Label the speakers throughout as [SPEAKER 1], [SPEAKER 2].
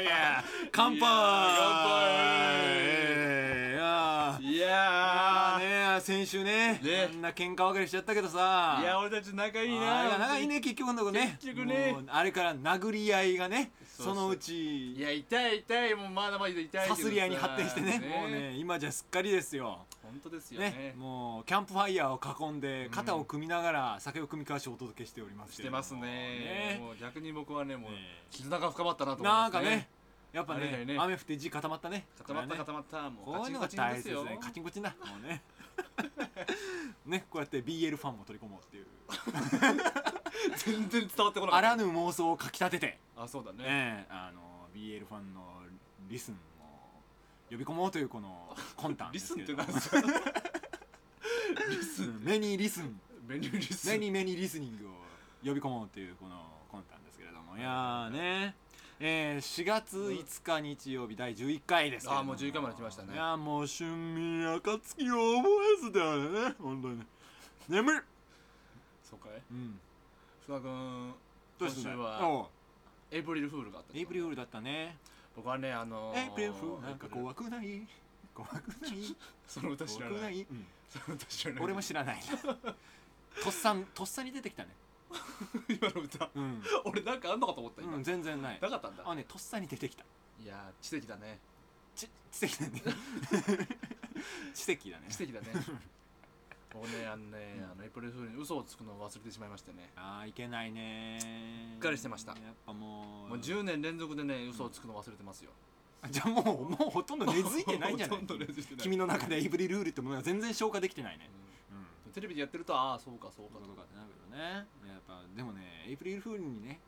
[SPEAKER 1] 乾杯い
[SPEAKER 2] 乾
[SPEAKER 1] や
[SPEAKER 2] い
[SPEAKER 1] あ
[SPEAKER 2] や
[SPEAKER 1] ね先週ね
[SPEAKER 2] ね
[SPEAKER 1] あんな喧嘩別れしちゃったけどさ
[SPEAKER 2] ーいや俺たち仲いい
[SPEAKER 1] あれ
[SPEAKER 2] な
[SPEAKER 1] が長いね結局のとこね
[SPEAKER 2] 結局ね
[SPEAKER 1] もうあれから殴り合いがね
[SPEAKER 2] そ
[SPEAKER 1] そう
[SPEAKER 2] そう
[SPEAKER 1] のう
[SPEAKER 2] い
[SPEAKER 1] ち
[SPEAKER 2] や痛い痛いもうまだまだ痛いけどさ
[SPEAKER 1] さすり合いに発展してねもうね今じゃすっかりですよ
[SPEAKER 2] 本当ですよね
[SPEAKER 1] ねもうキャンプファイヤーを囲んで肩を組みながら酒を組み交わしお届けしております
[SPEAKER 2] し
[SPEAKER 1] けれ
[SPEAKER 2] て
[SPEAKER 1] ども
[SPEAKER 2] ますねもう逆に僕はねもう
[SPEAKER 1] ね
[SPEAKER 2] 絆が深まったなと思
[SPEAKER 1] な
[SPEAKER 2] いま
[SPEAKER 1] ん
[SPEAKER 2] す
[SPEAKER 1] かねやっぱ
[SPEAKER 2] あれだ
[SPEAKER 1] ね
[SPEAKER 2] よね
[SPEAKER 1] 雨降って地固まったね
[SPEAKER 2] 固まった
[SPEAKER 1] これね
[SPEAKER 2] 固まったもう
[SPEAKER 1] こ
[SPEAKER 2] カ
[SPEAKER 1] うい
[SPEAKER 2] チ
[SPEAKER 1] う
[SPEAKER 2] ン
[SPEAKER 1] の
[SPEAKER 2] カ
[SPEAKER 1] が
[SPEAKER 2] チン
[SPEAKER 1] 大
[SPEAKER 2] で
[SPEAKER 1] 切
[SPEAKER 2] す
[SPEAKER 1] です
[SPEAKER 2] よ
[SPEAKER 1] ねカチンコチンだも うねねこうやって BL ファンも取り込もうっていう
[SPEAKER 2] 全然伝わってこなか
[SPEAKER 1] あ
[SPEAKER 2] った
[SPEAKER 1] らぬ妄想をかきたてて
[SPEAKER 2] あそうだね
[SPEAKER 1] ねあの BL ファンのリスンを呼び込もうというこの魂胆
[SPEAKER 2] リ
[SPEAKER 1] で
[SPEAKER 2] ス
[SPEAKER 1] す
[SPEAKER 2] ン
[SPEAKER 1] け
[SPEAKER 2] っ
[SPEAKER 1] れど
[SPEAKER 2] てなんですかリス
[SPEAKER 1] う
[SPEAKER 2] ン
[SPEAKER 1] んメニーリスン
[SPEAKER 2] メニューリス
[SPEAKER 1] メ
[SPEAKER 2] ン
[SPEAKER 1] ニーメニーリスニングを呼び込もうというこの魂胆ですけれどもいやーねえー、4月5日日曜日第11回ですけれど
[SPEAKER 2] あーもう11回まで来ましたね
[SPEAKER 1] いやーもう春眠暁を思えずだよね本当に眠い
[SPEAKER 2] そうかい
[SPEAKER 1] うん
[SPEAKER 2] 福田君
[SPEAKER 1] どうしたんだ
[SPEAKER 2] 今週
[SPEAKER 1] よ
[SPEAKER 2] は
[SPEAKER 1] おう
[SPEAKER 2] エイプリルフールがあったでしょ
[SPEAKER 1] エイプリルフールだったね
[SPEAKER 2] 僕はねあのー
[SPEAKER 1] エイプリルフールなんか怖くない怖くない
[SPEAKER 2] その歌 知ら
[SPEAKER 1] 怖くな
[SPEAKER 2] ない
[SPEAKER 1] い、うん
[SPEAKER 2] その歌知らない
[SPEAKER 1] 俺も知ら ないなとっさんとっさに出てきたね
[SPEAKER 2] 今の歌
[SPEAKER 1] うん、
[SPEAKER 2] 俺なんかあんのかと思った今
[SPEAKER 1] うん、全然ない
[SPEAKER 2] なかったんだ
[SPEAKER 1] あねとっさに出てきた
[SPEAKER 2] いやー知的だね
[SPEAKER 1] ち知的だね 知的だね
[SPEAKER 2] 知的 だね僕ねあのね
[SPEAKER 1] うん
[SPEAKER 2] あのエイプリルフールに嘘をつくのを忘れてしまいましてね
[SPEAKER 1] あーいけないねしっ
[SPEAKER 2] かりしてました
[SPEAKER 1] やっぱもう
[SPEAKER 2] もう10年連続でね嘘をつくの忘れてますよ
[SPEAKER 1] じゃあもうもうほとんど根付いてないんじゃない
[SPEAKER 2] ほとんど根付いてない
[SPEAKER 1] 君の中でエイブリルールってものが全然消化できてないねうん
[SPEAKER 2] うんテレビでやってるとああそうかそうか
[SPEAKER 1] どう
[SPEAKER 2] と
[SPEAKER 1] いうことかってなるけどねやっぱでもねエイプリルフールにね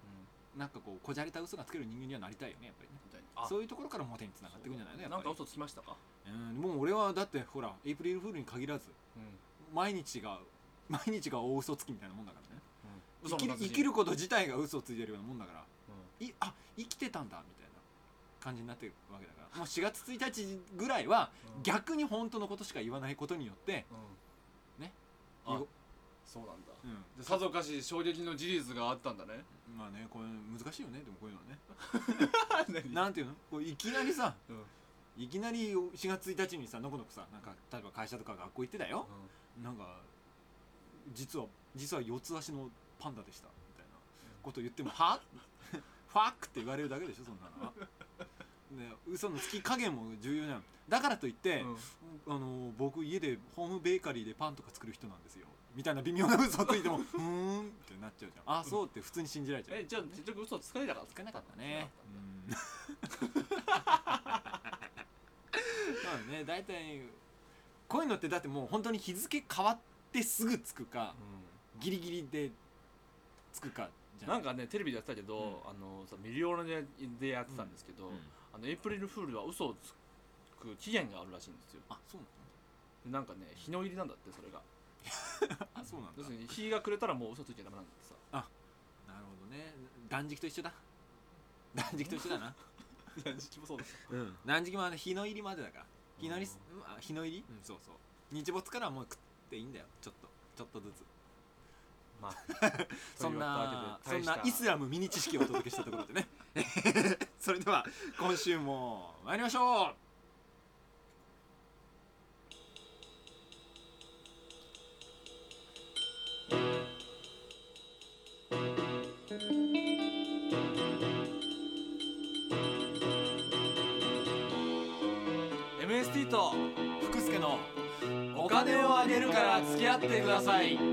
[SPEAKER 2] うん
[SPEAKER 1] なんかこうこじゃれた嘘がつける人間にはなりたいよねやっぱりね
[SPEAKER 2] みたいな
[SPEAKER 1] そういうところから表につながっていくんじゃないのやっぱ
[SPEAKER 2] な
[SPEAKER 1] り
[SPEAKER 2] んか嘘つきましたか
[SPEAKER 1] うんもう俺はだってほらエイプリルフールに限らず
[SPEAKER 2] うん
[SPEAKER 1] 毎日が毎日が大嘘つきみたいなもんだからね
[SPEAKER 2] 嘘
[SPEAKER 1] 生きる
[SPEAKER 2] の達人
[SPEAKER 1] 生きること自体が嘘をついてるようなもんだから
[SPEAKER 2] うん
[SPEAKER 1] いあ生きてたんだみたいな感じになってるわけだからもう4月1日ぐらいは
[SPEAKER 2] うん
[SPEAKER 1] 逆に本当のことしか言わないことによって、
[SPEAKER 2] うん
[SPEAKER 1] ね
[SPEAKER 2] あ
[SPEAKER 1] よ
[SPEAKER 2] そうなんだ
[SPEAKER 1] うん
[SPEAKER 2] でさぞかし衝撃の事実があったんだね
[SPEAKER 1] まあねこれ難しいよねでもこういうのはね
[SPEAKER 2] 何
[SPEAKER 1] なんていうのこういきなりさ
[SPEAKER 2] うん
[SPEAKER 1] いきなり4月1日にさのこのこさなんか例えば会社とか学校行ってたよなんか実は実は四つ足のパンダでしたみたいなこと言っても「は? 」 「ファック」って言われるだけでしょそんなのは。ね、嘘のつき加減も重要じゃんだからといって、
[SPEAKER 2] うん
[SPEAKER 1] あの僕家でホームベーカリーでパンとか作る人なんですよみたいな微妙な嘘をついてもうーんってなっちゃうじゃんあそうって普通に信じられちゃう
[SPEAKER 2] えじゃあ結局嘘つかれなかった
[SPEAKER 1] つかなかったねうん そうだね大体こういうのってだってもう本当に日付変わってすぐつくかギリギリでつくかじゃ
[SPEAKER 2] なん
[SPEAKER 1] か、
[SPEAKER 2] かねテレビでやってたけど、あのさミリオネでやってたんですけど、
[SPEAKER 1] うん
[SPEAKER 2] あのエイプリルフールは嘘をつく期限があるらしいんですよ
[SPEAKER 1] あそう
[SPEAKER 2] でなんかね日の入りなんだってそれが
[SPEAKER 1] なんだあそうなんだ
[SPEAKER 2] 要するに日が暮れたらもう嘘ついちゃダメなんだってさ
[SPEAKER 1] なるほどね断食と一緒だ断食と一緒 だな
[SPEAKER 2] いや実も そうです
[SPEAKER 1] うん断食もあの日の入りまでだから日の入りす、うんあ日の入り、うん、そうそう日没からはもう食っていいんだよちょっとちょっとずつ
[SPEAKER 2] まあ
[SPEAKER 1] そんなそんなイス
[SPEAKER 2] や
[SPEAKER 1] ラムミニ知識をお届けしたところでね それでは今週も参りましょ
[SPEAKER 2] ム MST と
[SPEAKER 1] う福助の
[SPEAKER 2] お金をあげるから付き合ってください
[SPEAKER 3] Do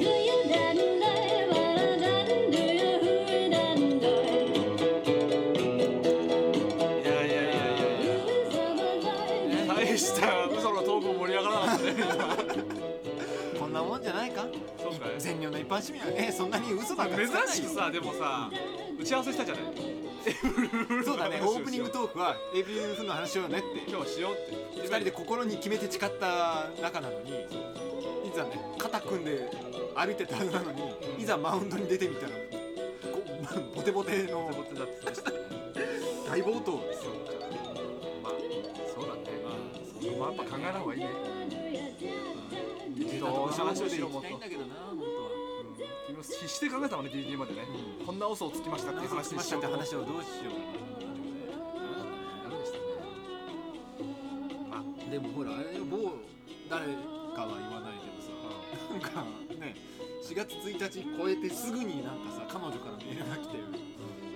[SPEAKER 3] you dan dai, wala dan, do you who dan dai?
[SPEAKER 2] いやいやいやいや
[SPEAKER 3] Who's on the line?
[SPEAKER 2] 大した嘘のトークも盛り上がらなかったね
[SPEAKER 1] こんなもんじゃないか
[SPEAKER 2] そうかい
[SPEAKER 1] 善良の一般市民はねそんなに嘘なんかつかないよ
[SPEAKER 2] 珍しくさでもさ打ち合わせしたじゃない
[SPEAKER 1] そうだね
[SPEAKER 2] 話
[SPEAKER 1] オ
[SPEAKER 2] をしよう
[SPEAKER 1] ープニングトークは ABF の話をねって
[SPEAKER 2] 今日しようって
[SPEAKER 1] 二人で心に決めて誓った仲なのにいざね肩組んで歩いてたはずなのにいざマウンドに出てみたらこボテボテの
[SPEAKER 2] ボテボテだってでしたね
[SPEAKER 1] 大暴投です
[SPEAKER 2] そうかまあそうだねまあやっぱ考えた方がいいね
[SPEAKER 1] ど
[SPEAKER 2] ど
[SPEAKER 1] う
[SPEAKER 2] う
[SPEAKER 1] し
[SPEAKER 2] し
[SPEAKER 1] ま
[SPEAKER 2] ま
[SPEAKER 1] し
[SPEAKER 2] し
[SPEAKER 1] ょ
[SPEAKER 2] ょ
[SPEAKER 1] う
[SPEAKER 2] う
[SPEAKER 1] で
[SPEAKER 2] で
[SPEAKER 1] 行
[SPEAKER 2] 行
[SPEAKER 1] き
[SPEAKER 2] き
[SPEAKER 1] た
[SPEAKER 2] た
[SPEAKER 1] いんだ
[SPEAKER 2] いんだ
[SPEAKER 1] けどな本当は
[SPEAKER 2] 君必死で考えたもんねギリギリまでねこんな嘘をつきましたっていう話
[SPEAKER 1] しまし
[SPEAKER 2] にした
[SPEAKER 1] っ
[SPEAKER 2] よ
[SPEAKER 1] て
[SPEAKER 2] うと
[SPEAKER 1] 話をどうしようでもほらあれよ某誰かは言わないけどさなんかね4月1日超えてすぐになんかさ彼女からメールが来て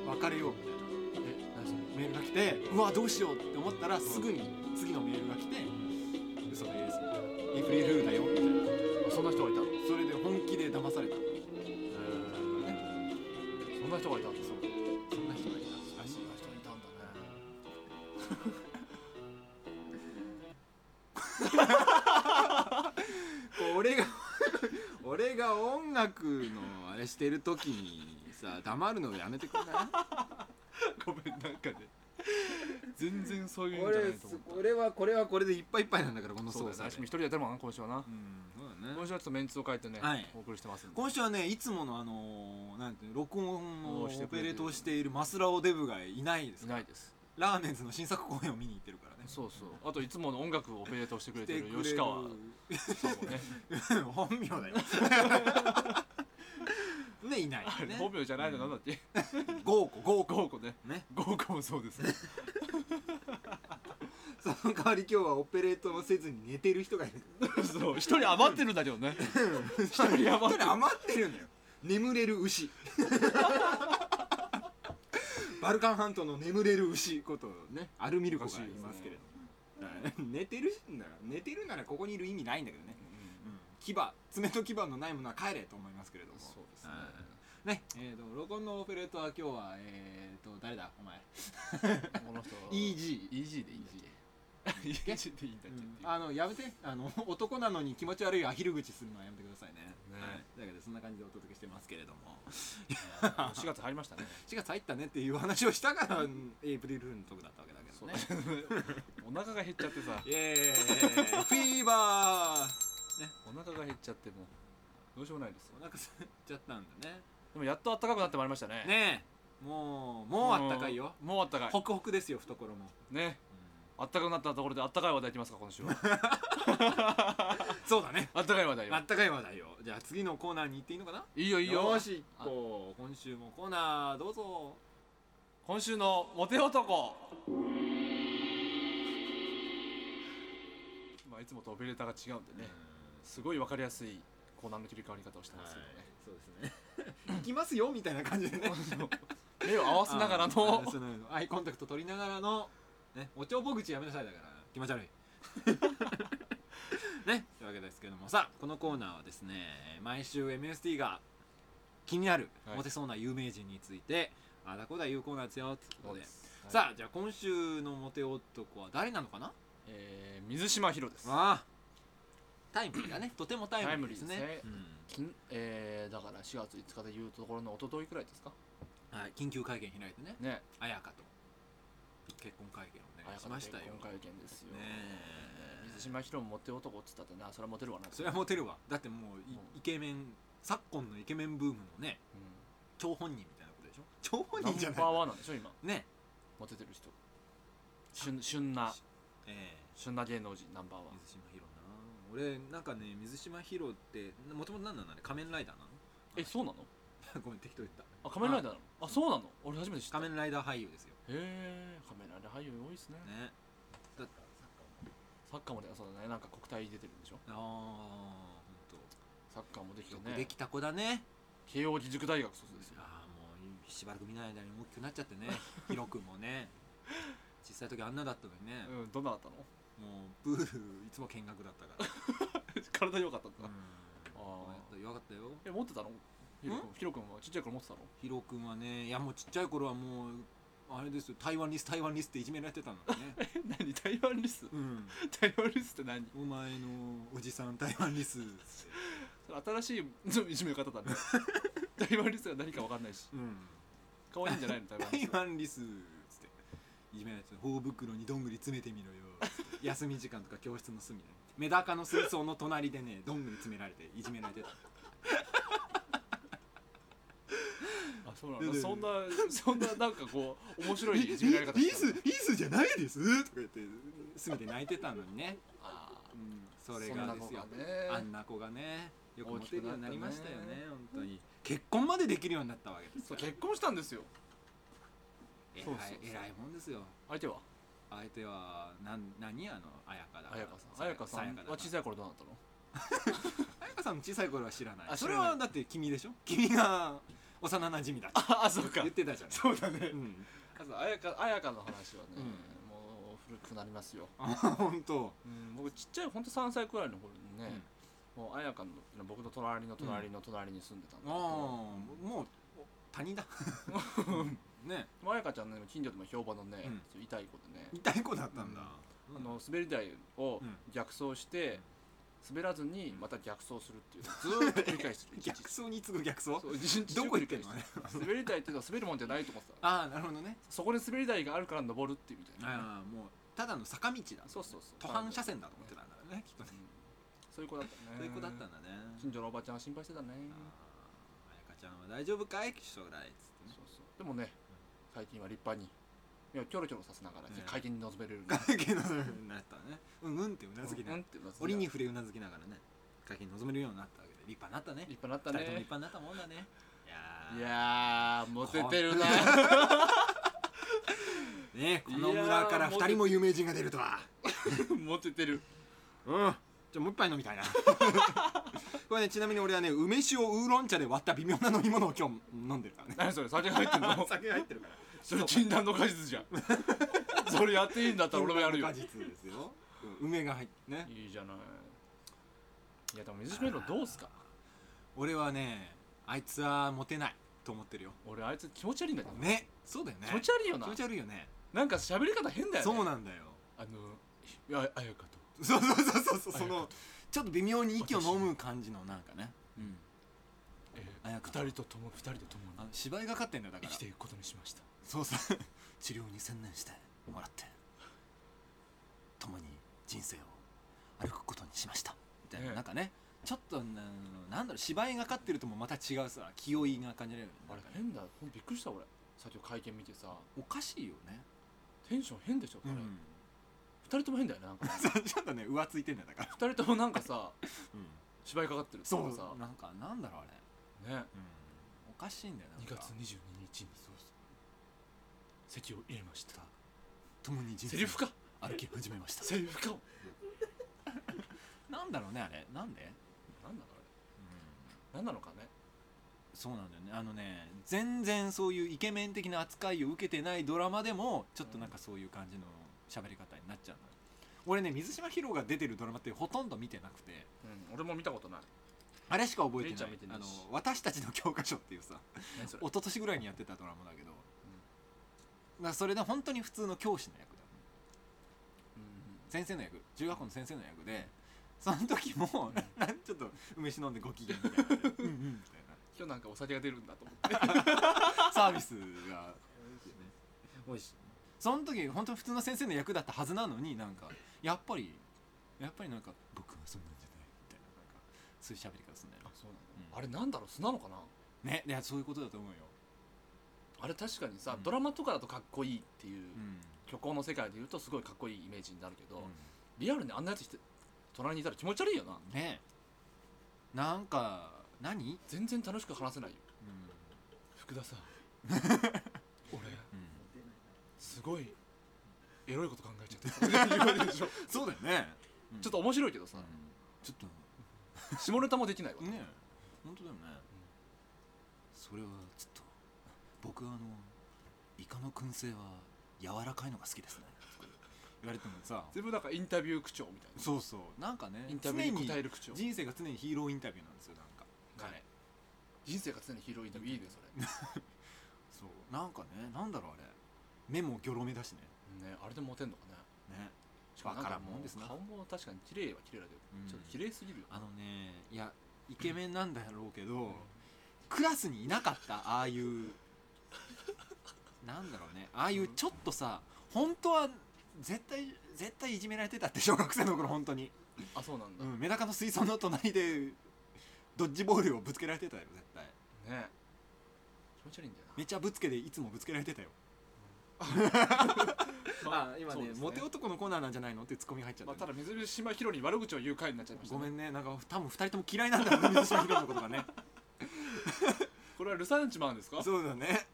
[SPEAKER 1] 別れようみたいなえ何それメールが来てうわどうしようって思ったらすぐに次のメールが来て嘘ですみたいなエイプリルフールだよみたいな
[SPEAKER 2] そんな人がいたの
[SPEAKER 1] それで本気で騙された
[SPEAKER 2] そんな人がいたんだ
[SPEAKER 1] そうそんな人がいたらしい
[SPEAKER 2] 人いたんだね
[SPEAKER 1] こう俺が俺が音楽のあれしてる時にさ黙るのやめてく れない
[SPEAKER 2] ごめんなんかね全然そういうんじゃない
[SPEAKER 1] 俺
[SPEAKER 2] と思った
[SPEAKER 1] 俺はこれはこれでいっぱいいっぱいなんだからこの
[SPEAKER 2] そう
[SPEAKER 1] 操
[SPEAKER 2] だね
[SPEAKER 1] 作で
[SPEAKER 2] 一人でやってるもんな今週はな、
[SPEAKER 1] うんそうだ
[SPEAKER 2] 今
[SPEAKER 1] ね
[SPEAKER 2] 週はちょっとメンツを変えてね、
[SPEAKER 1] はい
[SPEAKER 2] お送りしてますんで
[SPEAKER 1] 今週はねいつものあのーなんていうの録音のオ
[SPEAKER 2] おーしてく
[SPEAKER 1] ペ
[SPEAKER 2] れ
[SPEAKER 1] レ
[SPEAKER 2] て
[SPEAKER 1] ー
[SPEAKER 2] る
[SPEAKER 1] トをしているマスラオデブがいないです
[SPEAKER 2] い
[SPEAKER 1] か
[SPEAKER 2] な
[SPEAKER 1] ら
[SPEAKER 2] いです
[SPEAKER 1] ラーメンズの新作公演を見に行ってるからね
[SPEAKER 2] そうそうあといつもの音楽をオペレートしてくれてる
[SPEAKER 1] 来くれる
[SPEAKER 2] 吉川さんもね
[SPEAKER 1] 本名だよ ねいないよね
[SPEAKER 2] 本名じゃないのなんだっけ
[SPEAKER 1] 豪子豪子
[SPEAKER 2] 豪子ね
[SPEAKER 1] ね
[SPEAKER 2] 豪華もそうですね
[SPEAKER 1] その代わり今日はオペレートをせずに寝てる人がいる
[SPEAKER 2] そう一人余ってるんだけどね一人余ってる
[SPEAKER 1] 本当に余ってるんだよ眠れる牛バルカン半島の眠れる牛ことねアルミルコがいますけれども、寝てるんだら寝てるならここにいる意味ないんだけどね、牙爪と牙のないものは帰れと思いますけれども
[SPEAKER 2] そうですね
[SPEAKER 1] はいねえー、と録音のオペレートは今日はえー、と誰だお前
[SPEAKER 2] この人
[SPEAKER 1] EG
[SPEAKER 2] EG でいいんだっけ EG でいいんだっけっていう
[SPEAKER 1] あのやめてあの 男なのに気持ち悪いアヒル口するのはやめてくださいね
[SPEAKER 2] ね
[SPEAKER 1] はい、だけどそんな感じでお届けしてますけれども
[SPEAKER 2] 4月入りましたね
[SPEAKER 1] 4月入ったねっていう話をしたからエイプリルフールのとこだったわけだけどね
[SPEAKER 2] お腹が減っちゃってさ
[SPEAKER 1] イエーイフィーバー
[SPEAKER 2] お腹が減っちゃってもうどうしようもないですよ
[SPEAKER 1] お腹すいちゃったんだね
[SPEAKER 2] でもやっと暖かくなってまいりましたね
[SPEAKER 1] ねえもうもうあったかいよ
[SPEAKER 2] もうあったか
[SPEAKER 1] ホクホクですよ懐も、
[SPEAKER 2] いねあったかくなったところであったかい話題いきますか今週は
[SPEAKER 1] そうだね
[SPEAKER 2] あったかい話題
[SPEAKER 1] あ
[SPEAKER 2] よ
[SPEAKER 1] ったかい話題よじゃあ次のコーナーに行っていいのかない
[SPEAKER 2] いよいいよ
[SPEAKER 1] よーしこう今週もコーナーどうぞ
[SPEAKER 2] 今週のモテ男まあいつもとオペレーターが違うんでねすごいわかりやすいコーナーの切り替わり方をして
[SPEAKER 1] はい
[SPEAKER 2] ますけどね
[SPEAKER 1] そうですね行きますよみたいな感じでね
[SPEAKER 2] 目を合わせながらの
[SPEAKER 1] あそのアイコンタクト取りながらの、ね、お帳ぼ口やめなさいだから気 持ち悪いねというわけですけどもさあこのコーナーはですね毎週 MST が気になる
[SPEAKER 2] はい
[SPEAKER 1] モテそうな有名人について、あだこだ言うコーナーですよということで
[SPEAKER 2] さあ、
[SPEAKER 1] さあじゃあ今週のモテ男は誰なのかな
[SPEAKER 2] えー、水島ひろです
[SPEAKER 1] ああタイムリーだねとてもタイムリーですね
[SPEAKER 2] タイムリーです
[SPEAKER 1] う
[SPEAKER 2] ね
[SPEAKER 1] ん
[SPEAKER 2] 金えー、だから4月5日でいうところの一昨日くらいですか
[SPEAKER 1] はい、緊急会見開いてね
[SPEAKER 2] ね
[SPEAKER 1] 綾香と結婚会見をねしましたよ
[SPEAKER 2] 今回見ですよ、
[SPEAKER 1] ねえ
[SPEAKER 2] 水島ひろもモテ男っつったってなそれはモテるわな
[SPEAKER 1] それはモテるわだってもうい
[SPEAKER 2] うん
[SPEAKER 1] イケメン昨今のイケメンブームのね
[SPEAKER 2] う
[SPEAKER 1] 張本人みたいなことでしょ張本
[SPEAKER 2] ん、ナ
[SPEAKER 1] 人じゃ
[SPEAKER 2] ン
[SPEAKER 1] な
[SPEAKER 2] バー
[SPEAKER 1] い
[SPEAKER 2] ワンなんでしょ今
[SPEAKER 1] ね
[SPEAKER 2] モテてる人旬旬な
[SPEAKER 1] え
[SPEAKER 2] 旬な芸能人ナンバーワ
[SPEAKER 1] え
[SPEAKER 2] ン
[SPEAKER 1] 水島ヒロな俺なんかね水島ヒロってもともと何なんだね仮面ライダーな
[SPEAKER 2] えそうなの
[SPEAKER 1] の ごめん適当言った
[SPEAKER 2] あ仮面ライダーなのあそうなの俺初めて知った
[SPEAKER 1] 仮
[SPEAKER 2] へ
[SPEAKER 1] 面ライダー俳優ですよ
[SPEAKER 2] え仮面ライダー俳優多いですね
[SPEAKER 1] ねだっ
[SPEAKER 2] サッカーもでそうだねなんか国体出てるんでしょ
[SPEAKER 1] ああほんと
[SPEAKER 2] サッカーもできて
[SPEAKER 1] よ
[SPEAKER 2] ね
[SPEAKER 1] くできた子だね
[SPEAKER 2] 慶応義塾大学卒ですよ
[SPEAKER 1] ああもうしばらく見ない間に大きくなっちゃって ねヒロ君もね小さい時あんなだったのにね、
[SPEAKER 2] うんどんなだったの
[SPEAKER 1] もうプールいつも見学だったから
[SPEAKER 2] 体良かったん だ、
[SPEAKER 1] あ
[SPEAKER 2] あ
[SPEAKER 1] あよかったよ
[SPEAKER 2] え持ってたのヒロ君ヒロ君はちっちゃい頃持ってたの
[SPEAKER 1] ヒロ君はねいやもうちっちゃい頃はもうあれですよ台湾リス台湾リスっていじめられてたの ね
[SPEAKER 2] え何台湾リス
[SPEAKER 1] うん
[SPEAKER 2] 台湾リスって何
[SPEAKER 1] お前のおじさん台湾リスって
[SPEAKER 2] それ新しいい じめ方 だね台湾リスが何か分かんないし
[SPEAKER 1] うん
[SPEAKER 2] 可愛いんじゃないの台 湾
[SPEAKER 1] 台
[SPEAKER 2] リス
[SPEAKER 1] 湾リスっつっていじめられてた頬袋にどんぐり詰めてみろよつって休み時間とか教室の隅でメダカの水槽の隣でねどんぐり詰められていじめられてた
[SPEAKER 2] あそうな
[SPEAKER 1] で
[SPEAKER 2] の
[SPEAKER 1] で
[SPEAKER 2] そんなそんななんかこう面白いいじめられ方
[SPEAKER 1] リ
[SPEAKER 2] してた
[SPEAKER 1] ス
[SPEAKER 2] の
[SPEAKER 1] リスじゃないですとか言って隅で泣いてたのにね、
[SPEAKER 2] あ
[SPEAKER 1] うん、
[SPEAKER 2] ー
[SPEAKER 1] それがですよ
[SPEAKER 2] そんなのがね
[SPEAKER 1] あんな子がねよくモ
[SPEAKER 2] 大きく
[SPEAKER 1] テ
[SPEAKER 2] な
[SPEAKER 1] るよう
[SPEAKER 2] ったね
[SPEAKER 1] になりましたよね本当に結婚までできるようになったわけです
[SPEAKER 2] そ
[SPEAKER 1] か
[SPEAKER 2] う
[SPEAKER 1] ら
[SPEAKER 2] 結婚したんですよ
[SPEAKER 1] えらい
[SPEAKER 2] そうそうそう
[SPEAKER 1] 偉いもんですよ
[SPEAKER 2] 相手は
[SPEAKER 1] あ相手はなん何あの彩香だから
[SPEAKER 2] 彩香さん彩香さ
[SPEAKER 1] や
[SPEAKER 2] ん
[SPEAKER 1] かだ
[SPEAKER 2] は小さい頃どうなったの
[SPEAKER 1] 彩香さんの小さい頃は知らない
[SPEAKER 2] あ
[SPEAKER 1] それ
[SPEAKER 2] 知らな
[SPEAKER 1] はいだって君でしょ君が幼馴染みだって
[SPEAKER 2] ああそうか
[SPEAKER 1] 言ってたじゃん
[SPEAKER 2] そうだね
[SPEAKER 1] うん
[SPEAKER 2] あと彩香彩香の話はね、
[SPEAKER 1] うん
[SPEAKER 2] もう古くなりますよ、
[SPEAKER 1] あ本当
[SPEAKER 2] うん、僕ちっちゃいほんと3歳くらいの頃にね、もう彩香の僕の隣の隣の隣に住んでたんだ
[SPEAKER 1] ああもう他 人だね
[SPEAKER 2] けど彩香ちゃんね近所でも評判のね、
[SPEAKER 1] うん
[SPEAKER 2] そう痛い子でね、
[SPEAKER 1] 痛い子だったんだ
[SPEAKER 2] あの滑り台を
[SPEAKER 1] うん
[SPEAKER 2] 逆走して、滑らずにまた逆走する っていうずーっと繰り返してる
[SPEAKER 1] 逆走に次ぐ逆走
[SPEAKER 2] そう一日中
[SPEAKER 1] どこ行って
[SPEAKER 2] 繰
[SPEAKER 1] ん
[SPEAKER 2] り
[SPEAKER 1] の
[SPEAKER 2] 返してる滑り台っていうのは滑るもんじゃないと思ってた
[SPEAKER 1] ああなるほどね
[SPEAKER 2] そこに滑り台があるから登るっていうみたいな、
[SPEAKER 1] ああもうただの坂道だ
[SPEAKER 2] そうそうそう
[SPEAKER 1] 途半車線だと思ってたんだねきっとね
[SPEAKER 2] うんそういう子だったね
[SPEAKER 1] そういう子だったんだね
[SPEAKER 2] 近所のおばちゃんは心配してたね
[SPEAKER 1] ああ彩香ちゃんは大丈夫かい将来っつってね
[SPEAKER 2] そうそうでもね最近は立派にいやキョロキョロさせながらね
[SPEAKER 1] ね
[SPEAKER 2] 回転に臨めれるんだ
[SPEAKER 1] 会見のぞめ るようになったねうんうんってうなずきな
[SPEAKER 2] う
[SPEAKER 1] が
[SPEAKER 2] ん
[SPEAKER 1] ら
[SPEAKER 2] ってうなずきながら
[SPEAKER 1] 折に触れうなずきながらね会見に臨めるようになったわけで立派になったね
[SPEAKER 2] 立派になっ
[SPEAKER 1] 二
[SPEAKER 2] た
[SPEAKER 1] 人とも
[SPEAKER 2] ね
[SPEAKER 1] 立派になったもんだねい
[SPEAKER 2] い
[SPEAKER 1] や
[SPEAKER 2] やーモテてるな
[SPEAKER 1] ーねこの村から二人も有名人が出るとは
[SPEAKER 2] モテてる
[SPEAKER 1] うんじゃあもう一杯飲みたいな これねちなみに俺はね梅酒をウーロン茶で割った微妙な飲み物を今日飲んでるからね
[SPEAKER 2] 何それ 酒入ってん の
[SPEAKER 1] 酒入ってるから
[SPEAKER 2] それ禁断の果実じゃんそれやっていいんだったら俺もやるよ
[SPEAKER 1] 果実ですようん梅が入ってね
[SPEAKER 2] いいじゃないいやでも水島ヒロどうすか
[SPEAKER 1] 俺はねあいつはモテないと思ってるよ
[SPEAKER 2] 俺あいつ気持ち悪いんだよ
[SPEAKER 1] ねそうだよね
[SPEAKER 2] 気持ち悪いよな
[SPEAKER 1] 気持ち悪いよね
[SPEAKER 2] なんか喋り方変だよね
[SPEAKER 1] そうなんだよ
[SPEAKER 2] あのいやあやかと
[SPEAKER 1] そうそうそうそうそうそ
[SPEAKER 2] あや
[SPEAKER 1] の
[SPEAKER 2] かと
[SPEAKER 1] ちょっと微妙に息を飲む感じのなんかねうん
[SPEAKER 2] え
[SPEAKER 1] あやか
[SPEAKER 2] ー、二人と共二人で共
[SPEAKER 1] あの
[SPEAKER 2] に
[SPEAKER 1] 芝居がかってんだよだか
[SPEAKER 2] 生
[SPEAKER 1] ら
[SPEAKER 2] きていくことにしました
[SPEAKER 1] そうそう 治療に専念してもらって共に人生を歩くことにしましたみたいな、
[SPEAKER 2] ええ
[SPEAKER 1] なんかねちょっとななんだろう芝居がかってるともまた違うさ気負いが感じられる
[SPEAKER 2] あ
[SPEAKER 1] なん
[SPEAKER 2] れ
[SPEAKER 1] かね
[SPEAKER 2] 変だほんとびっくりした俺さっきの会見見てさ
[SPEAKER 1] おかしいよね、
[SPEAKER 2] テンション変でしょ
[SPEAKER 1] う
[SPEAKER 2] 彼、
[SPEAKER 1] ん、
[SPEAKER 2] 二人とも変だよねなんか
[SPEAKER 1] そう ちょっとね浮ついてんだよだから、
[SPEAKER 2] 二人ともなん かさ
[SPEAKER 1] うん、
[SPEAKER 2] 芝居かかってるってい
[SPEAKER 1] そう
[SPEAKER 2] かさ
[SPEAKER 1] なんかなんだろうあれ、
[SPEAKER 2] ね
[SPEAKER 1] うん、おかしいんだよなん
[SPEAKER 2] 2
[SPEAKER 1] か
[SPEAKER 2] 月22日に席を入れました
[SPEAKER 1] 共に人生
[SPEAKER 2] セリ
[SPEAKER 1] を
[SPEAKER 2] フか
[SPEAKER 1] 歩き始めました
[SPEAKER 2] セリフか
[SPEAKER 1] なんだろうねあれなんで、うん、
[SPEAKER 2] なんなのあれなんなのかね
[SPEAKER 1] そうなんだよねあのね全然そういうイケメン的な扱いを受けてないドラマでもちょっとなんかそういう感じの喋り方になっちゃうのよ俺ね水島ヒロが出てるドラマってほとんど見てなくて
[SPEAKER 2] うん俺も見たことない
[SPEAKER 1] あれしか覚えて
[SPEAKER 2] レイち
[SPEAKER 1] な
[SPEAKER 2] ゃ
[SPEAKER 1] い
[SPEAKER 2] ん見てな
[SPEAKER 1] あ
[SPEAKER 2] い
[SPEAKER 1] の
[SPEAKER 2] し
[SPEAKER 1] 私たちの教科書っていうさ
[SPEAKER 2] 何そ
[SPEAKER 1] 一
[SPEAKER 2] れ
[SPEAKER 1] 昨年ぐらいにやってたドラマだけど、まあそれで本当に普通の教師の役だ
[SPEAKER 2] うん
[SPEAKER 1] 先生の役中学校の先生の役でその時も なんちょっと梅酒飲んでご機嫌みたいなねうんうんみたいな
[SPEAKER 2] 今日なんかお酒が出るんだと思って
[SPEAKER 1] サービスが 美味しいその時本当に普通の先生の役だったはずなのになんかやっぱりやっぱりなんか僕はそんなんじゃないみたいななんかそういう喋り方すんだよ
[SPEAKER 2] あそう
[SPEAKER 1] なんだ
[SPEAKER 2] あれなんだろう素なのかな
[SPEAKER 1] ねいやそういうことだと思うよ
[SPEAKER 2] あれ確かにさ、
[SPEAKER 1] うん
[SPEAKER 2] ドラマとかだとかっこいいっていう、
[SPEAKER 1] うん
[SPEAKER 2] 虚構の世界でいうとすごいかっこいいイメージになるけど、
[SPEAKER 1] う
[SPEAKER 2] リアルにあんなやつして隣にいたら気持ち悪いよなん
[SPEAKER 1] ねなんか何、うん
[SPEAKER 2] 全然楽しく話せないよ福田さん 俺
[SPEAKER 1] うん
[SPEAKER 2] すごいエロいこと考えちゃって た言われるでしょ
[SPEAKER 1] そうだよね
[SPEAKER 2] ちょっと面白いけどさ
[SPEAKER 1] うん、ちょっ
[SPEAKER 2] 下ネタもできないわ、
[SPEAKER 1] とね本当だよね、それはちょっと僕はあのイカの燻製は柔らかいのが好きですねとか言われてもさ
[SPEAKER 2] 全部なんかインタビュー口調みたい
[SPEAKER 1] そうそうなんかね
[SPEAKER 2] なインタビューに答える口調
[SPEAKER 1] 常に人生が常にヒーローインタビューなんですよなんか彼、
[SPEAKER 2] ね人生が常にヒーローインタビューいいねそれ
[SPEAKER 1] そうなんかねなんだろうあれ目もギョロ目だしね
[SPEAKER 2] ねあれでモテんのかね
[SPEAKER 1] ね
[SPEAKER 2] しかもなん
[SPEAKER 1] わ
[SPEAKER 2] か
[SPEAKER 1] からんも
[SPEAKER 2] も
[SPEAKER 1] んです
[SPEAKER 2] う
[SPEAKER 1] な
[SPEAKER 2] 顔も確かに綺麗は綺麗だけど、
[SPEAKER 1] うん
[SPEAKER 2] ちょっと綺麗すぎるよ
[SPEAKER 1] あのねいやイケメンなんだろうけど、クラスにいなかったああいうなんだろうねああいうちょっとさ本当は絶対絶対いじめられてたって小学生の頃本当に、
[SPEAKER 2] あそうなん
[SPEAKER 1] う
[SPEAKER 2] だ、
[SPEAKER 1] ん、メダカの水槽の隣でドッジボールをぶつけられてたよ絶対
[SPEAKER 2] ね気持ち悪いんだよ
[SPEAKER 1] めっちゃぶつけでいつもぶつけられてたよ
[SPEAKER 2] な、
[SPEAKER 1] あ今
[SPEAKER 2] そう
[SPEAKER 1] ね
[SPEAKER 2] です
[SPEAKER 1] モテ男のコーナーなんじゃないのってツッコミが入っちゃっ
[SPEAKER 2] ま
[SPEAKER 1] た,、
[SPEAKER 2] あ、ただ水島ヒロに悪口を言う回になっちゃいました、
[SPEAKER 1] ごめ
[SPEAKER 2] ん
[SPEAKER 1] んねなんか多分二人とも嫌いなんだろうね水島ひろのことがね
[SPEAKER 2] これはルサンチマンですか
[SPEAKER 1] そうだね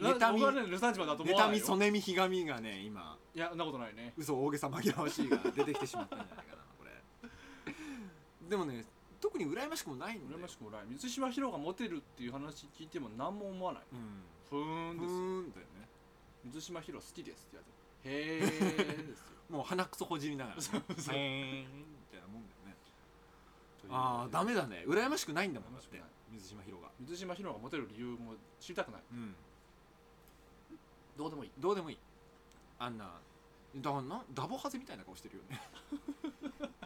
[SPEAKER 2] な
[SPEAKER 1] 妬み
[SPEAKER 2] 僕はねルサンチマンだと思
[SPEAKER 1] 妬
[SPEAKER 2] わない
[SPEAKER 1] み
[SPEAKER 2] よ
[SPEAKER 1] そねみひがみがね今
[SPEAKER 2] いやそんなことないね
[SPEAKER 1] 嘘大げさ紛らわしいが出てきてしまったんじゃないかなこれでもね特に羨ましくもないんだよ
[SPEAKER 2] 羨ましくもない水島ヒロがモテるっていう話聞いても何も思わない
[SPEAKER 1] うん
[SPEAKER 2] ふーん
[SPEAKER 1] ふ
[SPEAKER 2] ですよ
[SPEAKER 1] ーんだよね
[SPEAKER 2] 水島ヒロ好きですって言われてへーですよ
[SPEAKER 1] もう鼻くそほじりながらね
[SPEAKER 2] そうそう
[SPEAKER 1] へーんみたいなもんだよね ああダメだね羨ましくないんだもんだっ
[SPEAKER 2] 羨
[SPEAKER 1] て
[SPEAKER 2] ましく
[SPEAKER 1] 水島ひろが
[SPEAKER 2] 水島ヒロがモテる理由も知りたくない
[SPEAKER 1] うん
[SPEAKER 2] どうでもいい
[SPEAKER 1] どうでもいいあんなだからなダボハゼみたいな顔してるよね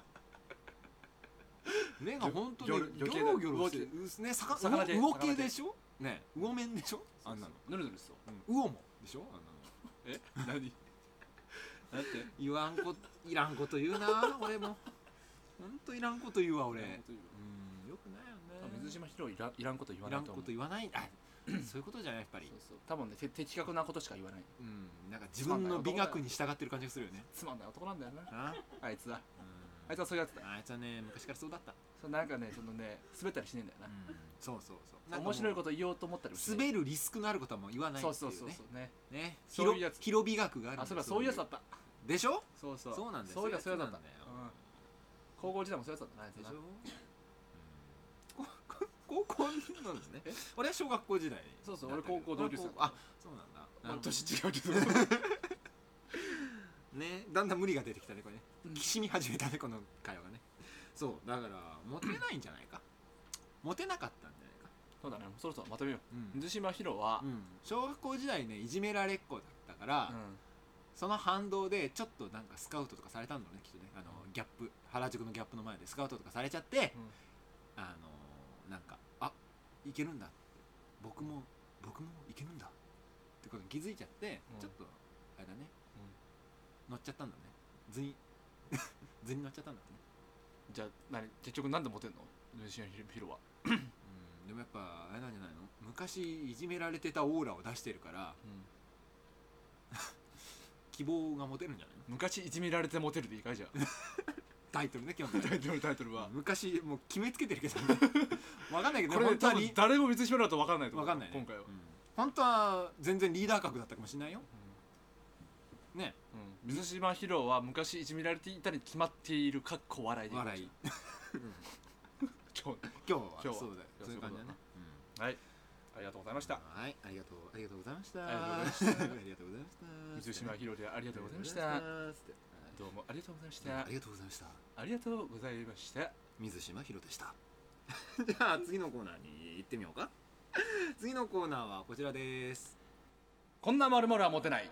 [SPEAKER 1] 目が本当に
[SPEAKER 2] ギ
[SPEAKER 1] ギ
[SPEAKER 2] ョロギョロ系
[SPEAKER 1] ョ
[SPEAKER 2] だ
[SPEAKER 1] ロギョロしてるうね魚
[SPEAKER 2] 魚系
[SPEAKER 1] 魚
[SPEAKER 2] 魚
[SPEAKER 1] 系
[SPEAKER 2] 系
[SPEAKER 1] でしょね魚面でしょあんなの
[SPEAKER 2] ぬるぬるしそう
[SPEAKER 1] うん魚もでしょあんなの
[SPEAKER 2] え何だって
[SPEAKER 1] 言わんこいらんこと言う な俺もほんといらんこと言うわ俺うんよくないよね
[SPEAKER 2] 水島ヒロいらいらんこと言わ
[SPEAKER 1] い
[SPEAKER 2] な
[SPEAKER 1] ら
[SPEAKER 2] い
[SPEAKER 1] ん
[SPEAKER 2] と
[SPEAKER 1] こ
[SPEAKER 2] 思う
[SPEAKER 1] と言わないあそういうことじゃないやっぱり
[SPEAKER 2] そうそう多分ねて的確なことしか言わない
[SPEAKER 1] うんなんか自分の美学に従ってる感じがするよね
[SPEAKER 2] つまんない男なんだよな
[SPEAKER 1] あ
[SPEAKER 2] あいつは
[SPEAKER 1] うん
[SPEAKER 2] あいつはそういうやつだ
[SPEAKER 1] あいつはね昔からそうだった
[SPEAKER 2] そうなんかねそのね滑ったりしねえんだよな
[SPEAKER 1] そうそうそう
[SPEAKER 2] 面白い
[SPEAKER 1] こ
[SPEAKER 2] こと言おうと思ったりもしない
[SPEAKER 1] 滑るリスクのあることはもう言わないって
[SPEAKER 2] そ
[SPEAKER 1] いうう
[SPEAKER 2] そうそう
[SPEAKER 1] ね
[SPEAKER 2] そうね
[SPEAKER 1] ねひ
[SPEAKER 2] そう
[SPEAKER 1] ろ
[SPEAKER 2] いうやつ
[SPEAKER 1] ひろ美学があるんだ
[SPEAKER 2] あ
[SPEAKER 1] よ
[SPEAKER 2] そういえばそういうやつだった
[SPEAKER 1] でしょ
[SPEAKER 2] そうそう
[SPEAKER 1] そうなんだよ
[SPEAKER 2] そういえばそういうやつ
[SPEAKER 1] そうな
[SPEAKER 2] だっ
[SPEAKER 1] んだよ
[SPEAKER 2] たうん高校時代もそういうやつだったなあい
[SPEAKER 1] で
[SPEAKER 2] つ
[SPEAKER 1] し
[SPEAKER 2] な
[SPEAKER 1] ょこ こ高校なんですね俺は小学校時代
[SPEAKER 2] そうそう俺高校同級生だった
[SPEAKER 1] あそうなんだなるほど
[SPEAKER 2] 年違 うけど
[SPEAKER 1] ねだんだん無理が出てきたねこれね
[SPEAKER 2] うん
[SPEAKER 1] きしみ始めたねこの会話がねそうだからモテないんじゃないかモテなかったんじゃないか
[SPEAKER 2] そうだねそろそろまとめよ
[SPEAKER 1] うん
[SPEAKER 2] う水島ヒロは
[SPEAKER 1] うん、小学校時代ねいじめられっ子だったから、
[SPEAKER 2] うん
[SPEAKER 1] その反動でちょっとなんかスカウトとかされたんだろうねきっとねあのギャップ原宿のギャップの前でスカウトとかされちゃって、あのなんかあいけるんだって僕も僕もいけるんだってことに気づいちゃって、
[SPEAKER 2] うん
[SPEAKER 1] ちょっとあれだね乗っちゃったんだね図に 図に乗っちゃったんだね、
[SPEAKER 2] じゃあ何結局なんでモテんの水島ヒロは
[SPEAKER 1] うん、でもやっぱあれなんじゃないの昔いじめられてたオーラを出してるから希望が持てるんじゃないの
[SPEAKER 2] 昔いじめられてモテるでいいかいじゃあ
[SPEAKER 1] タイトルね今日の
[SPEAKER 2] タイトルタイトルは
[SPEAKER 1] 昔もう決めつけてるけど、 わかんないけど
[SPEAKER 2] これ
[SPEAKER 1] 本当
[SPEAKER 2] 多
[SPEAKER 1] は
[SPEAKER 2] 分
[SPEAKER 1] リ
[SPEAKER 2] 誰も水島だと分かんないと思
[SPEAKER 1] わか
[SPEAKER 2] う
[SPEAKER 1] んない、ね、
[SPEAKER 2] 今回は
[SPEAKER 1] うん本当は全然リーダー格だったかもしれないよね
[SPEAKER 2] うん水島ヒロは昔いじめられていたに決まっているかっこ笑いで
[SPEAKER 1] 笑い
[SPEAKER 2] 今日
[SPEAKER 1] 今日は
[SPEAKER 2] 今日は
[SPEAKER 1] そうだよ
[SPEAKER 2] いや
[SPEAKER 1] そういう感じだね
[SPEAKER 2] そういうこはいありがとうございました
[SPEAKER 1] はいありがとうありがとうございました
[SPEAKER 2] ありがとうございまし
[SPEAKER 1] ありがとうございました
[SPEAKER 2] 水島ヒロであり
[SPEAKER 1] あ
[SPEAKER 2] がとうございまし
[SPEAKER 1] つ
[SPEAKER 2] た
[SPEAKER 1] って
[SPEAKER 2] どうもありがとうございまし
[SPEAKER 1] はい
[SPEAKER 2] た
[SPEAKER 1] ありがとうございました
[SPEAKER 2] ありがとうございました
[SPEAKER 1] 水島ひろでした じゃあ次のコーナーに行ってみようか次のコーナーはこちらです
[SPEAKER 2] こんなまるまるはモテない